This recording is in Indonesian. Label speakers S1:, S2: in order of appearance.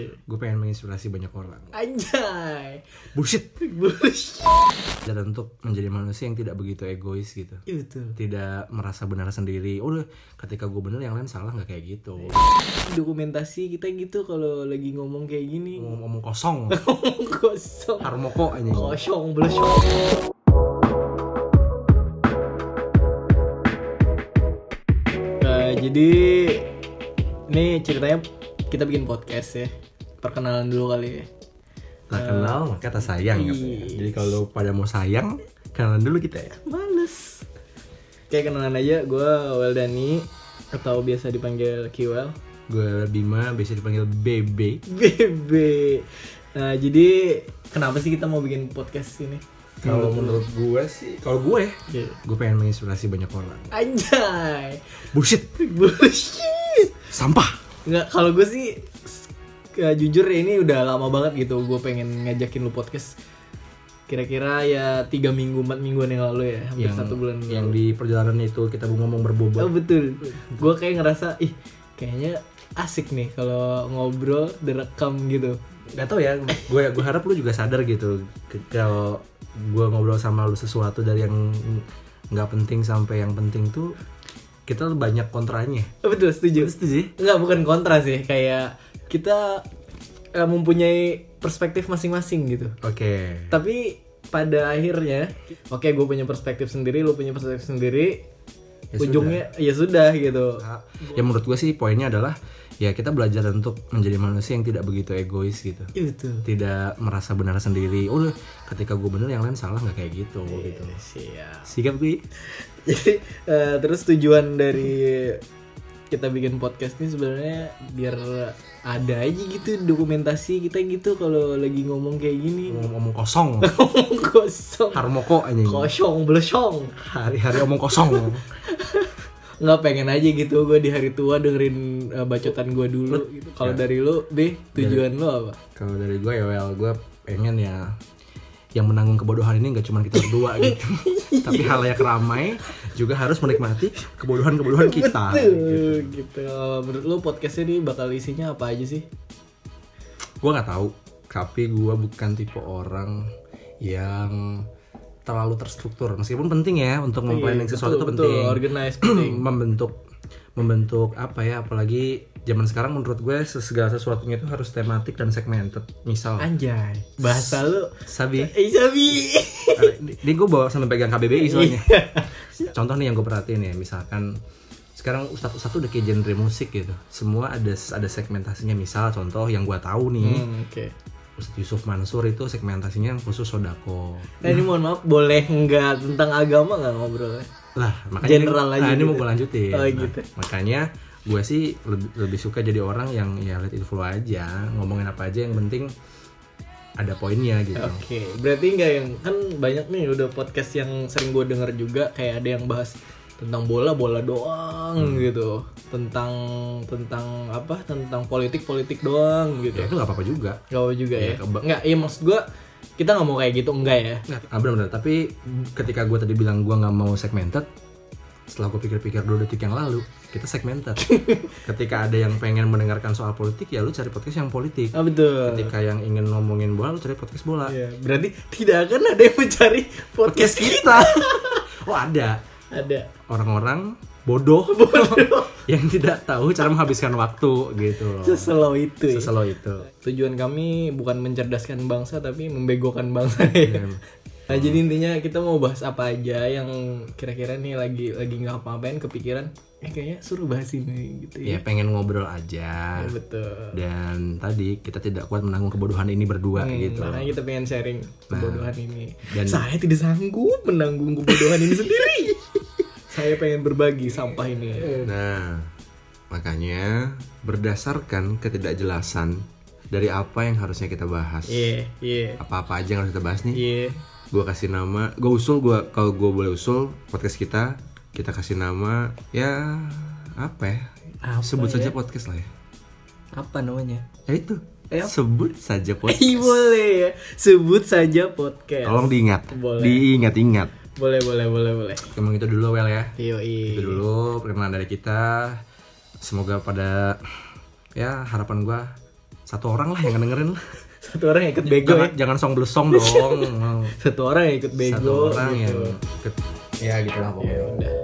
S1: gue pengen menginspirasi banyak orang
S2: Anjay.
S1: bullshit
S2: Bullshit.
S1: dan untuk menjadi manusia yang tidak begitu egois gitu
S2: Iya, Betul.
S1: tidak merasa benar sendiri udah ketika gue bener yang lain salah nggak kayak gitu
S2: Dokumentasi kita gitu kalau lagi ngomong kayak gini.
S1: ngomong-ngomong kosong
S2: Ngomong kosong.
S1: harmoko aja
S2: Kosong, belesong. Eh, jadi ini ceritanya kita bikin podcast ya. Perkenalan dulu kali ya.
S1: tak kenal maka tak sayang katanya.
S2: Iya.
S1: jadi kalau pada mau sayang kenalan dulu kita ya
S2: Males. Kayak kenalan aja, gue Weldani atau biasa dipanggil Kiwel.
S1: gue Bima biasa dipanggil BB
S2: BB. Nah, jadi kenapa sih kita mau bikin podcast ini?
S1: kalau menurut gue sih kalau gue
S2: Iya.
S1: gue pengen menginspirasi banyak orang
S2: Anjay.
S1: bullshit
S2: Bullshit.
S1: sampah
S2: Nggak, kalau gue sih s- ya, jujur ya, ini udah lama banget gitu gue pengen ngajakin lu podcast kira-kira ya tiga minggu empat mingguan yang lalu ya hampir satu bulan
S1: yang di perjalanan itu kita ngomong berbobot
S2: Oh, betul gue kayak ngerasa ih kayaknya asik nih kalau ngobrol direkam gitu
S1: nggak tau ya gue gue harap lu juga sadar gitu ke- kalau gue ngobrol sama lu sesuatu dari yang nggak penting sampai yang penting tuh kita banyak kontranya
S2: Oh, betul setuju
S1: setuju
S2: Enggak, bukan kontra sih. Kayak kita eh, mempunyai perspektif masing-masing gitu.
S1: oke
S2: Tapi pada akhirnya, oke gue punya perspektif sendiri, lu punya perspektif sendiri.
S1: Ya
S2: ujungnya ya sudah gitu.
S1: ya menurut gue sih poinnya adalah ya kita belajar untuk menjadi manusia yang tidak begitu egois gitu
S2: Itu.
S1: tidak merasa benar sendiri udah ketika gue bener yang lain salah nggak kayak gitu gitu
S2: Siap.
S1: sikap gue
S2: Jadi eh, terus tujuan dari kita bikin podcast ini sebenarnya biar ada aja gitu dokumentasi kita gitu kalau lagi ngomong kayak gini.
S1: ngomong kosong
S2: Ngomong kosong.
S1: harmoko anjing
S2: Kosong, belesong.
S1: hari-hari omong kosong
S2: nggak pengen aja gitu gue di hari tua dengerin uh, bacotan gue dulu gitu. kalau
S1: Ya.
S2: dari lu B tujuan lu apa
S1: Kalau dari gue ya well, gue pengen ya yang menanggung kebodohan ini nggak cuma kita berdua gitu, tapi halayak ramai juga harus menikmati kebodohan-kebodohan kita. gitu.
S2: Tuh, gitu Kalau menurut lu podcastnya ini bakal isinya apa aja sih
S1: Gue nggak tahu, tapi gue bukan tipe orang yang terlalu terstruktur. Meskipun penting ya untuk memplanning sesuatu itu
S2: Iya, Betul,
S1: penting. Hmm,
S2: betul, organize penting
S1: membentuk membentuk apa ya apalagi zaman sekarang menurut gue segala sesuatunya itu harus tematik dan segmented misal
S2: anjay bahasa lu
S1: sabi
S2: eh sabi
S1: ini gue bawa sampai pegang KBBI
S2: Iya.
S1: soalnya. Contoh nih yang gue perhatiin ya, misalkan sekarang ustadz ustadz udah kayak genre musik gitu, semua ada ada segmentasinya. Misal contoh yang gue tahu nih,
S2: Hmm, oke
S1: Ustadz Yusuf Mansur itu segmentasinya yang khusus sodako.
S2: nah ini mohon maaf boleh nggak tentang agama nggak ngobrolnya
S1: Lah makanya ini,
S2: General aja
S1: nah, ini
S2: gitu.
S1: mau gue lanjutin.
S2: Oh,
S1: Nah,
S2: gitu.
S1: makanya gue sih lebih, lebih suka jadi orang yang ya let it flow aja, ngomongin apa aja yang penting ada poinnya gitu.
S2: Oke, berarti nggak yang kan banyak nih udah podcast yang sering gue denger juga kayak ada yang bahas tentang bola bola doang
S1: Hmm.
S2: gitu, tentang tentang apa tentang politik politik doang
S1: Ya
S2: gitu.
S1: itu nggak apa-apa juga.
S2: Gak mau juga ya?
S1: Iya, keba-
S2: Nggak, iya maksud gue kita nggak mau kayak gitu enggak ya?
S1: Nggak, Ah, benar-benar. Tapi ketika gue tadi bilang gue nggak mau segmented, setelah gue pikir-pikir dua detik yang lalu, kita segmented. ketika ada yang pengen mendengarkan soal politik, ya lu cari podcast yang politik.
S2: Ah betul.
S1: Ketika yang ingin ngomongin bola, lu cari podcast bola.
S2: Iya, berarti tidak akan ada yang mencari
S1: Podcast
S2: podcast
S1: kita. oh ada
S2: ada.
S1: orang-orang bodoh, yang tidak tahu cara menghabiskan waktu gitu loh.
S2: Seselau itu. ya.
S1: Seselo itu.
S2: Tujuan kami bukan mencerdaskan bangsa tapi membegokan bangsa. ya. Nah, jadi intinya kita mau bahas apa aja yang kira-kira nih lagi lagi nggak apa-apain kepikiran. Eh kayaknya suruh bahas ini gitu
S1: Ya
S2: ya.
S1: pengen ngobrol aja.
S2: Ya, Betul.
S1: Dan tadi kita tidak kuat menanggung kebodohan ini berdua
S2: Hmm,
S1: gitu. Nah,
S2: Makanya kita pengen sharing kebodohan ini.
S1: dan-
S2: Saya tidak sanggup menanggung kebodohan ini sendiri. Saya pengen berbagi sampah ini.
S1: Nah, makanya berdasarkan ketidakjelasan dari apa yang harusnya kita bahas,
S2: Iya, iya.
S1: apa-apa aja yang harus kita bahas nih,
S2: Iya.
S1: gue kasih nama, gue usul gue kalau gue boleh usul podcast kita, kita kasih nama ya apa ya?
S2: Apa
S1: Sebut
S2: ya?
S1: saja podcast lah ya.
S2: Apa namanya?
S1: Ya itu.
S2: Eh, apa?
S1: Sebut saja podcast.
S2: Ih, boleh ya. Sebut saja podcast.
S1: Tolong diingat,
S2: Iya. Boleh.
S1: diingat-ingat.
S2: Boleh, boleh, boleh, boleh.
S1: Emang itu dulu well ya.
S2: Yoi.
S1: itu dulu perkenalan dari kita semoga pada ya harapan gua satu orang lah yang dengerin lah.
S2: satu orang yang ikut bego
S1: jangan,
S2: ya
S1: jangan song blesong dong
S2: satu orang yang ikut bego
S1: satu orang
S2: gitu.
S1: yang ikut- ya gitu lah
S2: ya
S1: pokoknya
S2: udah